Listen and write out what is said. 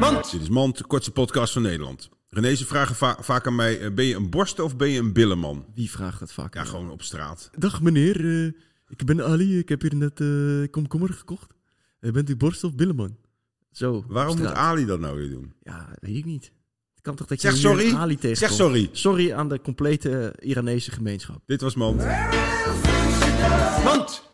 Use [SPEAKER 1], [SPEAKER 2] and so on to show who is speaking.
[SPEAKER 1] Mand. Dit is Mand, de kortste podcast van Nederland. René, ze vragen va- vaak aan mij, eh, ben je een borst of ben je een billenman?
[SPEAKER 2] Wie vraagt dat vaak?
[SPEAKER 1] Ja, gewoon op straat.
[SPEAKER 2] Dag meneer, eh, ik ben Ali. Ik heb hier net eh, komkommer gekocht. Eh, bent u borst of billenman? Zo.
[SPEAKER 1] Waarom
[SPEAKER 2] op
[SPEAKER 1] moet
[SPEAKER 2] straat.
[SPEAKER 1] Ali dat nou weer doen?
[SPEAKER 2] Ja, weet ik niet. Het kan toch dat
[SPEAKER 1] Zeg
[SPEAKER 2] je
[SPEAKER 1] sorry.
[SPEAKER 2] meneer Ali tegenkomt?
[SPEAKER 1] Zeg sorry.
[SPEAKER 2] Sorry aan de complete eh, Iranese gemeenschap.
[SPEAKER 1] Dit was Mand.